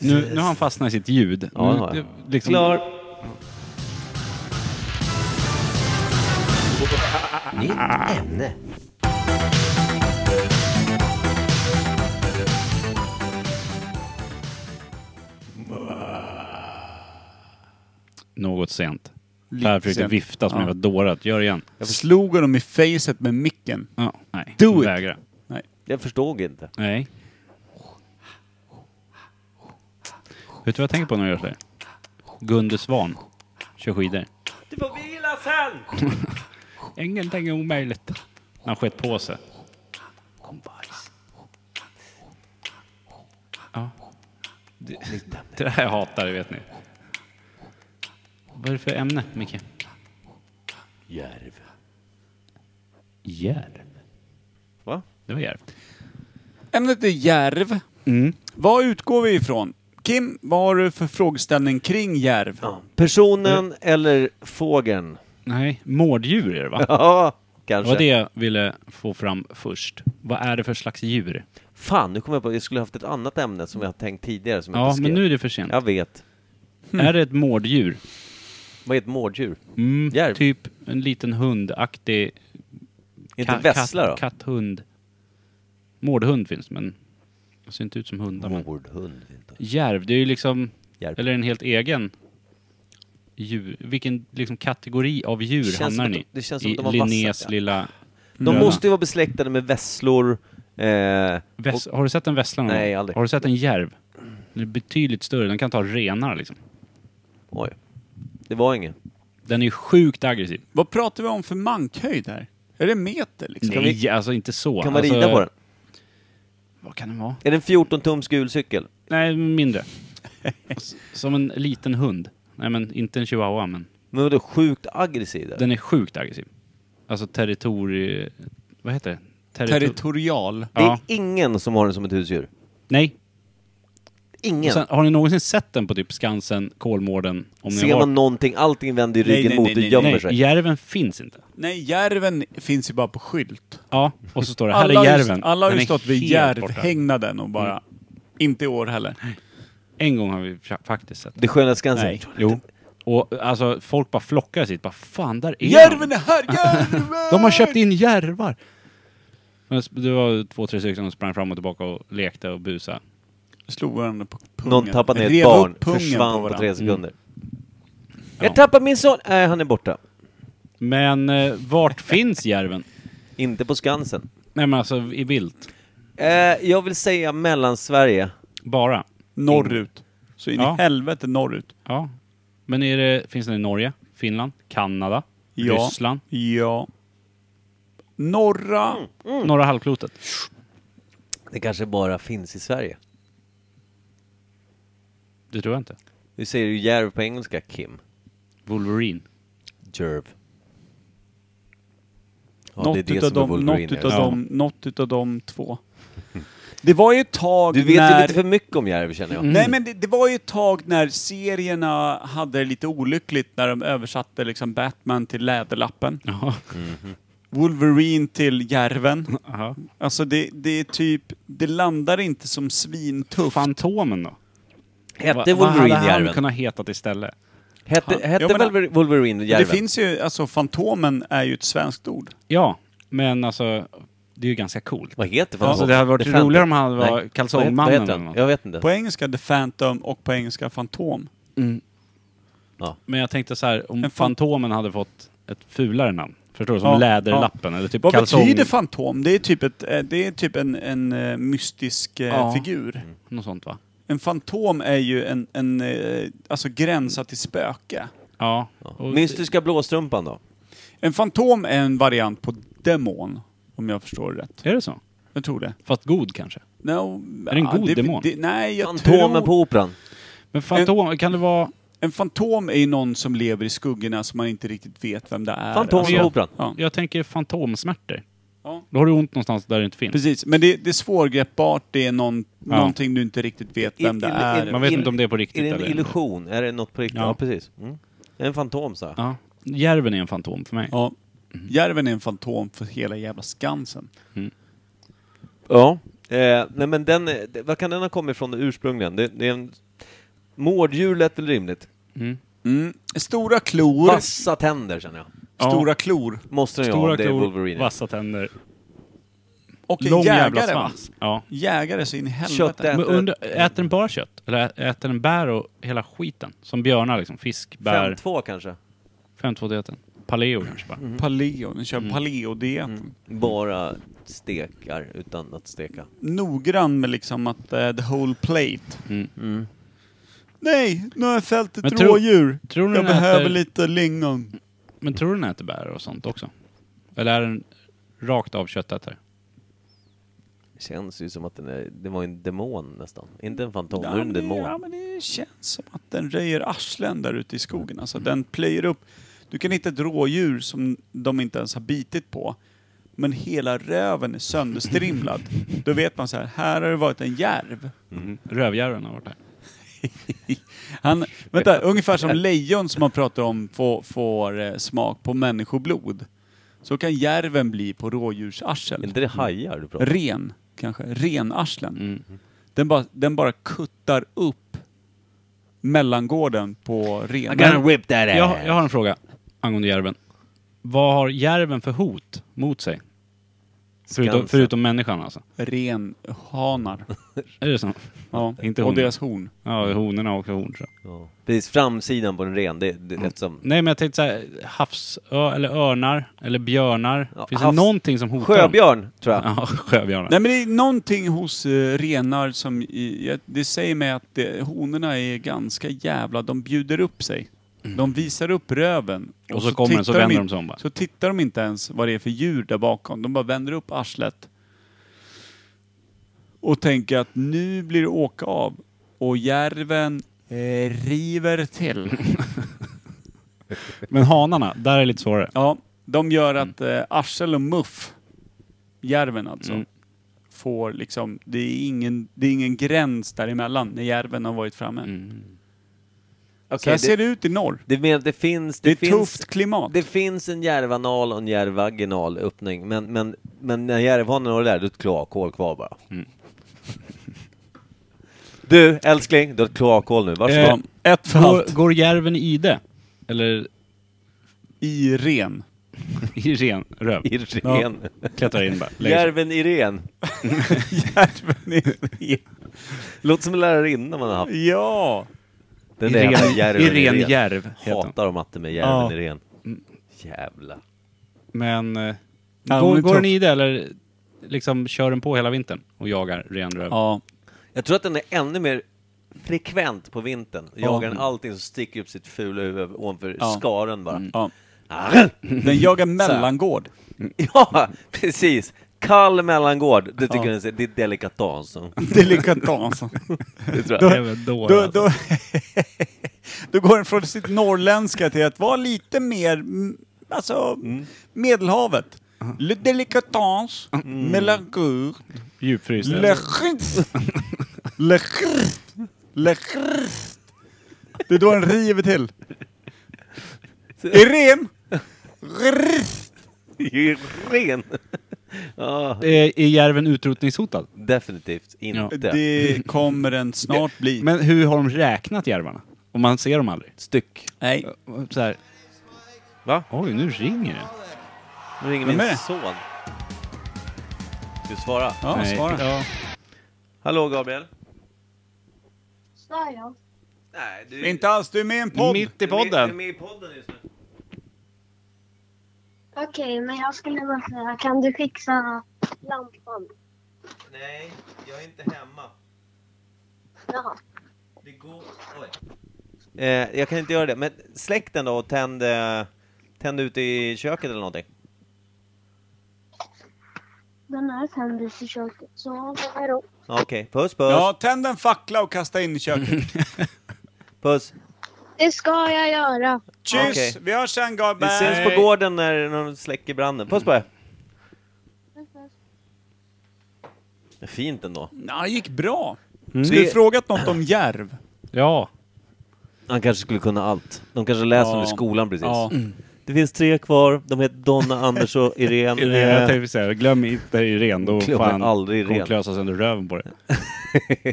Nu, nu har han fastnat i sitt ljud.
Ja,
nu,
det har jag.
det- liksom,
Klar!
Något sent.
Lite
Per försökte
sent.
vifta som
Ja.
jag var dårat. Gör igen.
Jag slog honom i facet med micken.
Ja, nej.
Do it.
Vägra.
Jag förstod inte.
Nej. Vet du vad jag tänker på när jag gör sådär? Gunde Svan. Kör skidor.
Du får vila sen!
Ingenting är omöjligt. Han skett på sig. Kom bajs. Ja. Det, *laughs* det där jag hatar, det vet ni. Vad är det för ämne, Micke?
Järv.
Järv.
Va?
Det var järvt.
Ämnet är järv.
Mm.
Vad utgår vi ifrån? Kim, vad har du för frågeställning kring järv?
Personen
Mm.
eller fågeln?
Nej, mårddjur är det va?
Ja,
Det
kanske.
var det jag ville få fram först. Vad är det för slags djur?
Fan, nu kom jag på jag skulle haft ett annat ämne som jag har tänkt tidigare som jag
Ja,
inte skrev.
men nu är det för sent.
Jag vet.
Är det ett mårddjur?
Vad är ett mårddjur?
Mm,
Järv.
Typ en liten hundaktig...
Inte
ka-
vessla då?
katt- Katthund. Mårdhund finns men... De ser inte ut som hundar. Men.
Mårdhund. inte.
Järv, det är ju liksom...
Järv.
Eller en helt egen... Djur. Vilken liksom, kategori av djur
Känns
hamnar
som att
ni?
de- det känns som
I
att de har
Linnés
massa-
lilla...
De
Gröna.
måste ju vara besläktade med vesslor. Eh,
Väs- har du sett en vessla någon
Nej,
gång?
aldrig.
Har du sett en järv? Den är betydligt större, den kan ta renar liksom.
och, oj. Det var inget.
Den är ju sjukt aggressiv.
Vad pratar vi om för mankhöjd här? Är det meter liksom?
Nej, alltså inte så.
Kan man
alltså,
rida på den?
Vad kan den vara?
Är det en 14 tums gul cykel? *laughs*
Nej, mindre. S- Som en liten hund. Nej, men inte en chihuahua, men
Men vadå, sjukt aggressiv där.
den är sjukt aggressiv. Alltså territori... Vad heter det? Territor-
Territorial.
Det är
ja.
ingen som har den som ett husdjur.
Nej.
Ingen.
Och sen, har ni någonsin sett den på typ Skansen, Kolmården? Om ni
Ser
har
man
varit-
någonting, allting vänder ju
Nej,
ryggen
nej,
mot
nej,
och
nej,
gömmer
Nej,
sig.
järven finns inte.
Nej, järven finns ju bara på skylt.
Ja, och så står det här
Alla,
är
har ju-
järven.
alla har
Den
ju
är
stått vid
helt borta.
järvhägnaden och bara... Inte i år heller.
En gång har vi fa- faktiskt sett den.
Det sköna Skansen.
Nej.
Jo. Och alltså, folk bara flockar sig hit. Bara, fan, där är *laughs* de."
Järven är här! Järven!
De har köpt in järvar! Men Det var två, tre stycken som sprang fram och tillbaka och lekte och busa.
Slog varandra på pungen.
Någon tappade ner ett
Rev
barn,
upp pungen
försvann på,
varandra.
tre sekunder.
Mm. Ja.
Jag tappade min son! Nej, han är borta.
Men eh, vart *laughs* finns järven?
Inte på Skansen.
Nej men alltså i vilt.
Eh, jag vill säga Mellansverige.
Bara.
Norrut. Så in
Ja.
i helvete norrut.
Ja. Men är det, finns den i Norge, Finland, Kanada,
Ja.
Ryssland,
Ja. Norra...
Mm.
norra halvklotet?
Det kanske bara finns i Sverige.
Det tror jag inte.
Du säger ju järv på engelska, Kim.
Wolverine.
Jerv. Ja, det är det
Något
som är
utav, dem,
Wolverine,
något,
ja.
utav
Ja.
dem, något utav de två. Det var ju ett tag
Du vet
när...
ju lite för mycket om järv känner jag.
Mm.
Nej men det, det var ju ett tag när serierna hade det lite olyckligt när de översatte liksom Batman till Läderlappen.
Jaha.
Wolverine
*laughs*
till Järven.
Jaha.
Alltså det, det är typ, det landar inte som svintufft.
Fantomen då?
Hette
vad hade
Wolverine
han
järven?
kunnat hetat istället?
Hette, hette
Jo, men-
Wolver- Wolverine
Det
järven?
finns ju, alltså Fantomen är ju ett svenskt ord.
Ja, men alltså det är ju ganska coolt.
Vad heter
Ja,
fan
så det hade varit
Phantom.
roligare om han var
Nej, vad heter-
kalsongmannen
vad heter
eller
han?
något.
Jag vet inte.
På engelska The Phantom och på engelska Fantom.
Men jag tänkte så här, om
En fan-
Fantomen hade fått ett fulare namn. Förstår du? Som
Ja,
Läderlappen eller typ
Vad
kalsong...
betyder Fantom? Det är typ, ett, eh, det är typ en, en eh, mystisk eh,
Ja. Mm.
figur.
Något sånt va?
En fantom är ju en, en eh, alltså gränsat till spöke.
Ja.
Ja.
Och-
Mystiska blåstrumpan då?
En fantom är en variant på demon, om jag förstår det rätt.
Är det så?
Jag tror det.
Fast god kanske?
No,
Är det en god demon?
nej, jag
Fantomen
tror...
på Operan.
Men fantom, kan det vara...
En fantom är ju någon som lever i skuggorna som man inte riktigt vet vem det är. Alltså,
Fantomen på
Ja.
Operan.
Ja.
Jag tänker fantomsmärtor.
Ja.
Då har du ont någonstans där det inte finns.
Precis, men det, det är svårgreppbart, det är någon,
Ja.
någonting du inte riktigt vet vem det
Ill-
är.
ill-
Man vet
ill-
inte om det är på riktigt
Är det en
eller-
illusion? Är det något på riktigt? Ja,
Ja.
precis. Mm. En fantom, sa jag.
Ja. Järven är en fantom för mig.
Ja. Järven är en fantom för hela jävla Skansen.
Ja. Eh, nej, men den, eh, det- vad kan den ha kommit ifrån ursprungligen? Det, det är en... Mårddjur lät väl rimligt?
Mm. Stora klor.
Vassa tänder, känner jag.
Stora klor.
Måste den ju ha,
Stora
om det är
klor,
Wolverine.
vassa tänder,
Och en
lång jävla
jägare va?
svans. Ja.
Jägare så in i
Köttätare.
helvete.
Men undra, äter den bara kött? Eller ä- äter den bär och hela skiten? Som björnar liksom. Fisk, bär,
5-2 kanske?
5-2-dieten. Paleo kanske
Mm.
bara.
Mm. Paleo, den kör paleodieten.
Bara stekar utan att steka.
Noggrann med liksom att eh, the whole plate.
Mm.
Nej, nu har jag fällt ett
Men tror-
rådjur.
Tror du
jag
den
behöver
äter,
lite lingon.
Men tror du den äter bär och sånt också? Eller är den rakt av köttätare?
Känns ju som att den är, det var en demon nästan. Inte en fantom,
Ja,
det är en
men det-
demon.
Ja, men det känns som att den röjer arslen där ute i skogen. Alltså, den plöjer upp. Du kan hitta ett rådjur som de inte ens har bitit på. Men hela röven är sönderstrimlad. Då vet man så här, här har det varit en järv.
Mm.
Rövjärven har varit där.
Han,
*laughs*
vänta, ungefär som lejon som man pratar om får, får eh, smak på människoblod. Så kan järven bli på
Är
rådjursarsel.
inte det hajar du pratar om?
Ren, kanske. Renarslen.
Mm.
Den, bara, den bara kuttar upp mellangården på ren.
gonna
whip that
Jag, jag har en fråga angående järven. Vad har järven för hot mot sig? Förutom,
Skansen.
förutom människan alltså.
renhanar.
Är det så?
Ja.
*laughs* Inte
och
hon.
deras horn.
Ja, honorna har också horn tror jag.
Ja. Precis, framsidan på en ren, det, det
Mm.
eftersom...
Nej men jag tänkte såhär, havsö eller örnar, eller björnar.
Ja,
Finns
havs-
det någonting som hotar dem?
Sjöbjörn, tror jag.
Ja, sjöbjörnar.
Nej men det är någonting hos eh, renar som, i, jag- det säger mig att det, honorna är ganska jävla, de bjuder upp sig. De visar upp röven.
Mm. Och så kommer den, så
tittar
vänder
in-
de sig om bara.
Så tittar de inte ens vad det är för djur där bakom. De bara vänder upp arslet. Och tänker att nu blir det åka av. Och järven eh, river till.
*laughs* Men hanarna, där är det lite svårare.
Ja, de gör att
Mm.
eh, arsel och muff, järven alltså,
Mm.
får liksom, det är, ingen, det är ingen gräns däremellan när järven har varit framme.
Mm.
Så här
Okej,
ser
det,
det ut i norr.
det, men, det finns...
Det,
Det,
är
finns,
tufft klimat.
Det finns en järvanal och en järvaginal öppning, men, men, men när järvhanen har det där, då är ett kloakhål kvar bara. *laughs* Du, älskling, du har ett kloakhål nu, varsågod.
Ja, ett för
Går,
allt.
går järven i ide? Eller
I ren.
i ren röv?
*laughs* I ren.
Klättrar in bara. lägger sig.
Järven Irene.
järven i ren.
Låter som en lärarinna man har haft.
Ja!
Den där jävla
Irene,
järven
Irene Järv heter hon.
Hatar om matte med järven
Ja.
Irene. Jävla.
Men eh,
Ja,
går,
men
går
tuff.
den i det eller liksom kör den på hela vintern och jagar ren röv?
Ja.
Jag tror att den är ännu mer frekvent på vintern. Jagar den allting som sticker upp sitt fula huvud ovanför
Ja. Mm.
skaren bara.
ja.
Ah!
Den jagar mellangård.
*laughs*
*laughs*
Ja, precis! Kall mellangård, det tycker
Ja.
den är, det är delikatans. *laughs* Det
Det är likadant. alltså.
tror
Då-
jag.
Även då,
Då,
alltså.
då, *laughs* då går den från sitt norrländska till att vara lite mer, mm, alltså,
Mm.
Medelhavet. Le délicatesse,
Mm.
mélancour,
Djupfryst.
le chris, *laughs* le chris, le chris. Det är då den
*laughs*
river till. Irene! Chris.
Ren! *laughs* Ja,
Eh, Är järven utrotningshotad?
definitivt inte.
Det kommer den snart bli.
Men hur har de räknat järvarna? Om man ser dem aldrig?
Styck.
Nej.
Så här.
Va?
Oj, nu ringer det.
Nu ringer
Vem är
min
det?
son. Ska du svara?
Ja,
Nej.
svara.
Ja.
Hallå Gabriel?
Stör jag?
Nej, du...
Inte alls, du är med i en podd.
Mitt i
Du är
podden.
med i podden just nu.
Okej, men jag skulle bara säga, kan du fixa lampan?
Nej, jag är inte hemma.
Jaha.
Det går... Oj. Eh, jag kan inte göra det, men släck den då och tänd eh, Tänd ute i köket eller någonting?
Den är tändes i köket, så den är då.
Okej, puss puss!
Ja, tänd en fackla och kasta in i köket.
Puss!
Det ska jag göra.
Tjus!
Okej.
Vi hörs sen,
Vi
gubben!
syns på gården när när de släcker branden. Puss på er! Det är Fint ändå.
Ja, det gick bra. Skulle du frågat något om järv?
Ja.
Han kanske skulle kunna allt. De kanske läser om det i
Ja.
skolan precis.
Ja.
Det finns tre kvar. De heter
*laughs*
Donna, Anders och Irene.
Jag
Eh,
tänkte säga, glöm inte Irene. Då
Glöm
fan
aldrig
kommer
Irene.
klösa sönder röven på det.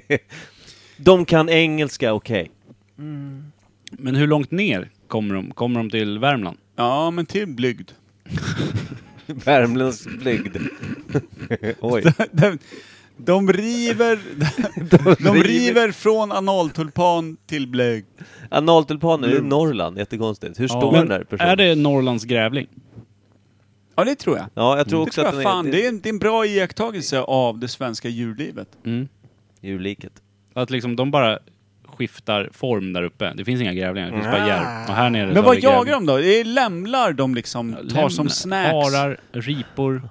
typ.
*laughs* de kan engelska, okej.
Men hur långt ner kommer de? Kommer de till Värmland?
ja, men till blygd.
Värmländsk blygd. Oj.
*laughs* De, de river... De, river från analtulpan till blög.
Analtulpaner, det är Norrland. Jättekonstigt. Hur står den där personen?
är det Norrlands grävling?
Ja, det tror jag.
Ja, jag tror
det
också
tror jag
att
Mm. fan.
den är...
Det är, en, det är en bra iakttagelse av det svenska djurlivet.
Djurliket.
Att liksom de bara skiftar form där uppe. Det finns inga grävlingar, det finns bara
Ah.
järv. Och här nere så
Men
har
vad
vi grävling.
jagar de då? Det är lämlar de liksom tar som
Lämnar,
snacks.
Harar, ripor.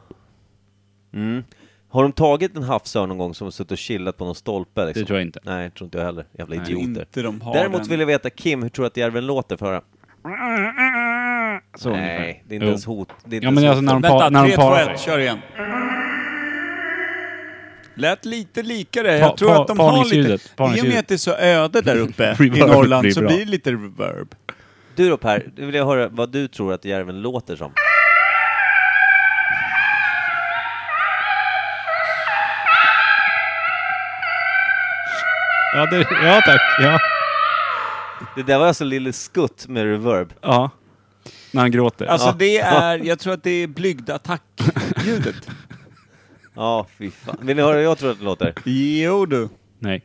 Har de tagit en havsörn någon gång som har suttit och chillat på någon stolpe? Liksom?
Det tror jag inte.
Nej, tror inte jag heller. Jävla
Nej,
idioter.
Inte de har
Däremot
den.
vill jag veta, Kim, hur tror du att järven låter? För att höra?
Så
Nej,
ungefär.
det är inte
Jo.
ens hot. Det är inte
Ja men
ens
alltså när de,
Vänta,
par, när de
3, 2,
parar
1,
sig.
kör igen. Lät lite lika det.
Pa-
Jag tror
pa-
att de har lite...
parningsljudet,
I och med
parningsljudet.
att det är så öde där uppe i
*laughs* Reverb
Norrland
blir
så
bra.
blir det lite reverb.
Du då Per, nu vill jag höra vad du tror att järven låter som.
Ja, det, ja tack. Ja.
Det där var alltså Lille Skutt med reverb.
ja. När han gråter.
Alltså
Ja.
*laughs* det är... Jag tror att det är blygdattack-ljudet.
Ja, fy fan. Vill ni höra hur jag tror att det låter?
jo du.
Nej.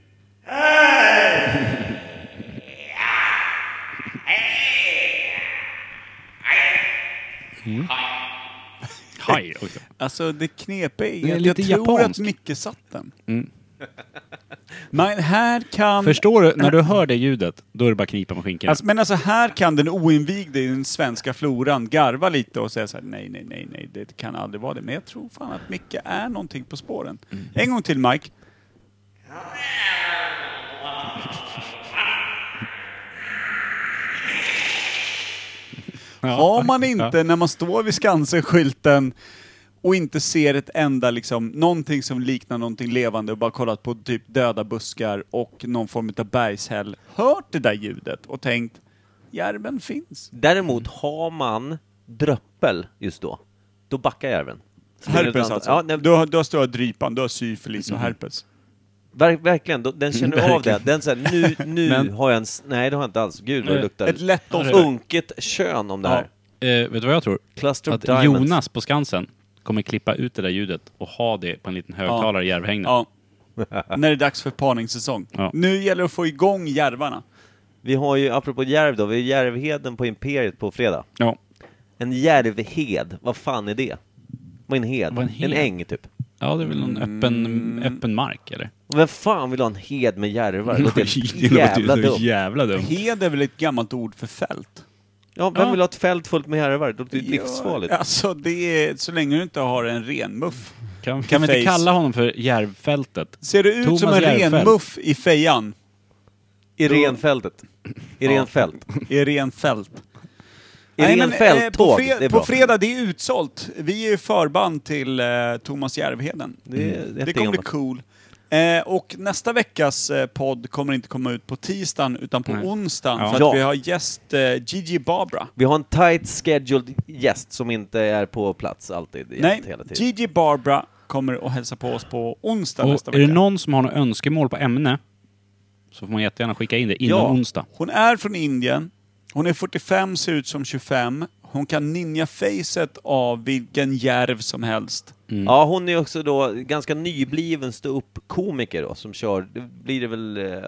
Mm.
Haj också.
Alltså det knepiga är,
Den är
att jag
lite
tror
japansk.
att Micke satt den. Men här kan...
Förstår du, när du hör det ljudet, då är det bara knipa med skinkorna.
Alltså, men alltså här kan den oinvigde i den svenska floran garva lite och säga så här: nej, nej, nej, nej, det kan aldrig vara det. Men jag tror fan att Micke är någonting på spåren.
Mm.
En gång till Mike. Har man inte, när man står vid Skansen-skylten och inte ser ett enda, liksom, någonting som liknar någonting levande och bara kollat på typ döda buskar och någon form av bergshäll, hört det där ljudet och tänkt järven finns.
Däremot har man dröppel just då, då backar järven. Springer åt
Herpes
andra-
alltså.
Ja, nej, Mm.
du, har, du har stora drypan, du har syfilis och herpes.
verk, verkligen, då- den känner av det. Den säger nu, nu
Men-
har jag en... s- Nej, det har jag inte alls. Gud vad det
Eh,
luktar.
Ett lätt
Ja, det-
Unket kön om det här.
Eh, vet du vad jag tror?
Cluster of
Att
diamonds.
Jonas på Skansen kommer klippa ut det där ljudet och ha det på en liten högtalare i Järvhägnan.
Ja. *laughs* När det är dags för parningssäsong.
Ja.
Nu gäller det att få igång järvarna.
Vi har ju, apropå järv då, vi har Järvheden på Imperiet på fredag.
Ja.
En järvhed, vad fan är det? Vad är en hed?
Vad är en hed?
äng typ.
ja, det är väl någon
Mm.
öppen, öppen mark eller?
Och Vem fan vill ha en hed med järvar? *laughs* Det
*laughs*
låter
Det
helt
låter ju
jävla
så
dumt.
jävla dumt.
Hed är väl ett gammalt ord för fält?
Ja, vem
Ja.
vill ha ett fält fullt med järvar? Det låter ju livsfarligt.
Ja, Alltså, det är, så länge du inte har en renmuff.
Kan, kan vi inte
Face.
kalla honom för Järvfältet?
Ser du ut
Thomas
som en
Järvfält.
renmuff i fejan?
I renfältet. I renfält. *laughs*
I renfält.
I renfälttåg.
eh, på,
Det är
fred,
bra.
på fredag, det är utsålt. Vi är ju förband till eh, Thomas Järvheden.
Det, är- det,
Det
är
kommer bli
gammalt.
cool. Eh, och nästa veckas eh, podd kommer inte komma ut på tisdagen utan på onsdagen
Ja.
för att
Ja.
vi har gäst eh, Gigi Barbara.
Vi har en tight scheduled gäst som inte är på plats alltid. jämt,
Nej, typ-
hela tiden.
Gigi Barbara kommer och hälsa på oss på onsdag nästa
Och är
vecka.
det någon som har något önskemål på ämne så får man jättegärna skicka in det innan
Ja.
onsdag.
Hon är från Indien. Hon är 45, ser ut som 25. Hon kan ninja-facet av vilken järv som helst.
Ja, hon är också då ganska nybliven ståuppkomiker då, som kör, det blir det väl, eh,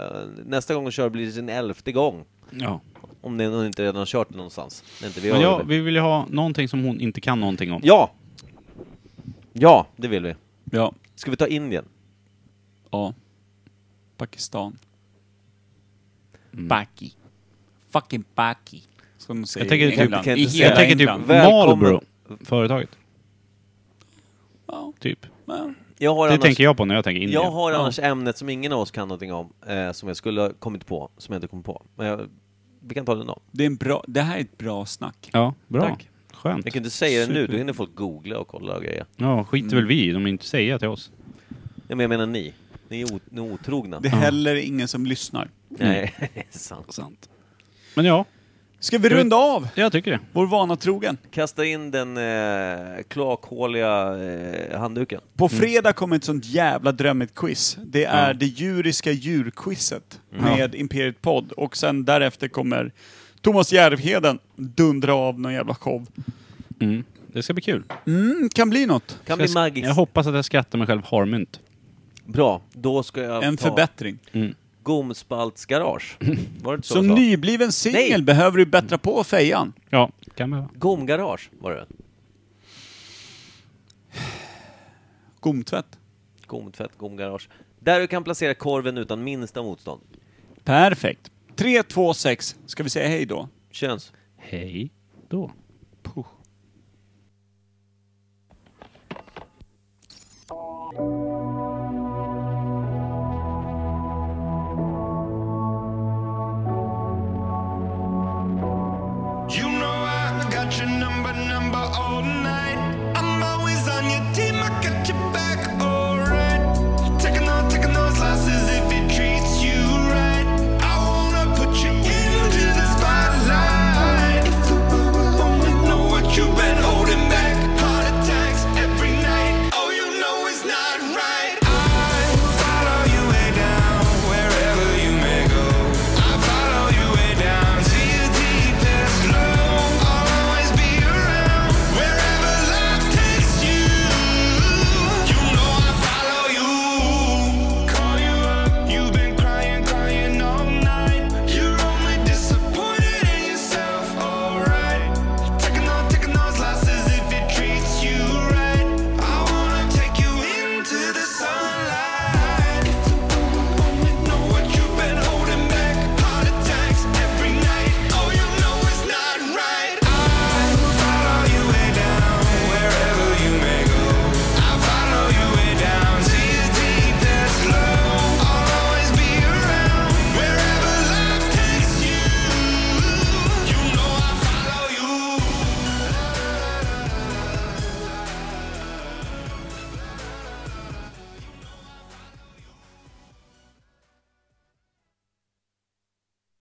nästa gång hon kör blir det sin elfte gång.
Ja.
Om det- hon inte redan har kört det någonstans. Det är inte vi
Men
har
ja,
det.
vi vill ju ha någonting som hon inte kan någonting om.
ja! Ja, det vill vi.
Ja.
Ska vi ta Indien?
Ja. Pakistan. Baki. Fucking Baki. Som de säger
Jag tänker
i
typ-
England.
kan
I
inte
hela
säga-
Jag tänker
England.
typ
Välkommen.
Marlboro, företaget.
Ja,
Typ.
men-
Jag har
Det
annars,
tänker jag på när jag tänker Indien.
jag har annars ämnet som ingen av oss kan någonting om, eh, som jag skulle ha kommit på, som jag inte kom på. Men jag, vi kan ta det då.
det, är en bra, det här är ett bra snack.
Ja, bra.
Tack.
Skönt.
Jag kan inte säga det nu, då hinner folk googla och kolla och grejer.
Ja, skiter väl vi i, de inte säga till oss.
Ja, men jag menar ni. Ni är, o, ni är otrogna.
Det är heller ingen som lyssnar.
Nej, *laughs* det är sant.
Sant. Men ja,
Ska vi runda av?
jag tycker det.
Vår vana trogen.
Kasta in den eh, kloakhåliga eh, handduken.
På fredag kommer ett sånt jävla drömmigt quiz. Det är det djuriska djurquizet med Imperiet Podd. Och sen därefter kommer Thomas Järvheden dundra av någon jävla show.
Mm. Det ska bli kul.
Mm, kan bli något.
Kan
Jag
bli
sk-
magiskt.
Jag hoppas att jag skrattar mig själv harmynt.
Bra, då ska jag
En
ta
förbättring.
Gomspalts garage. Var det inte så
Som
jag sa?
nybliven singel
Nej. Mm.
behöver du bättra på fejan.
Ja, kan behöva.
Gomgarage var det.
Gomtvätt.
Gomtvätt, gomgarage. Där du kan placera korven utan minsta motstånd.
Perfekt. 3, 2, 6. Ska vi säga hej då?
Köns.
Hej då.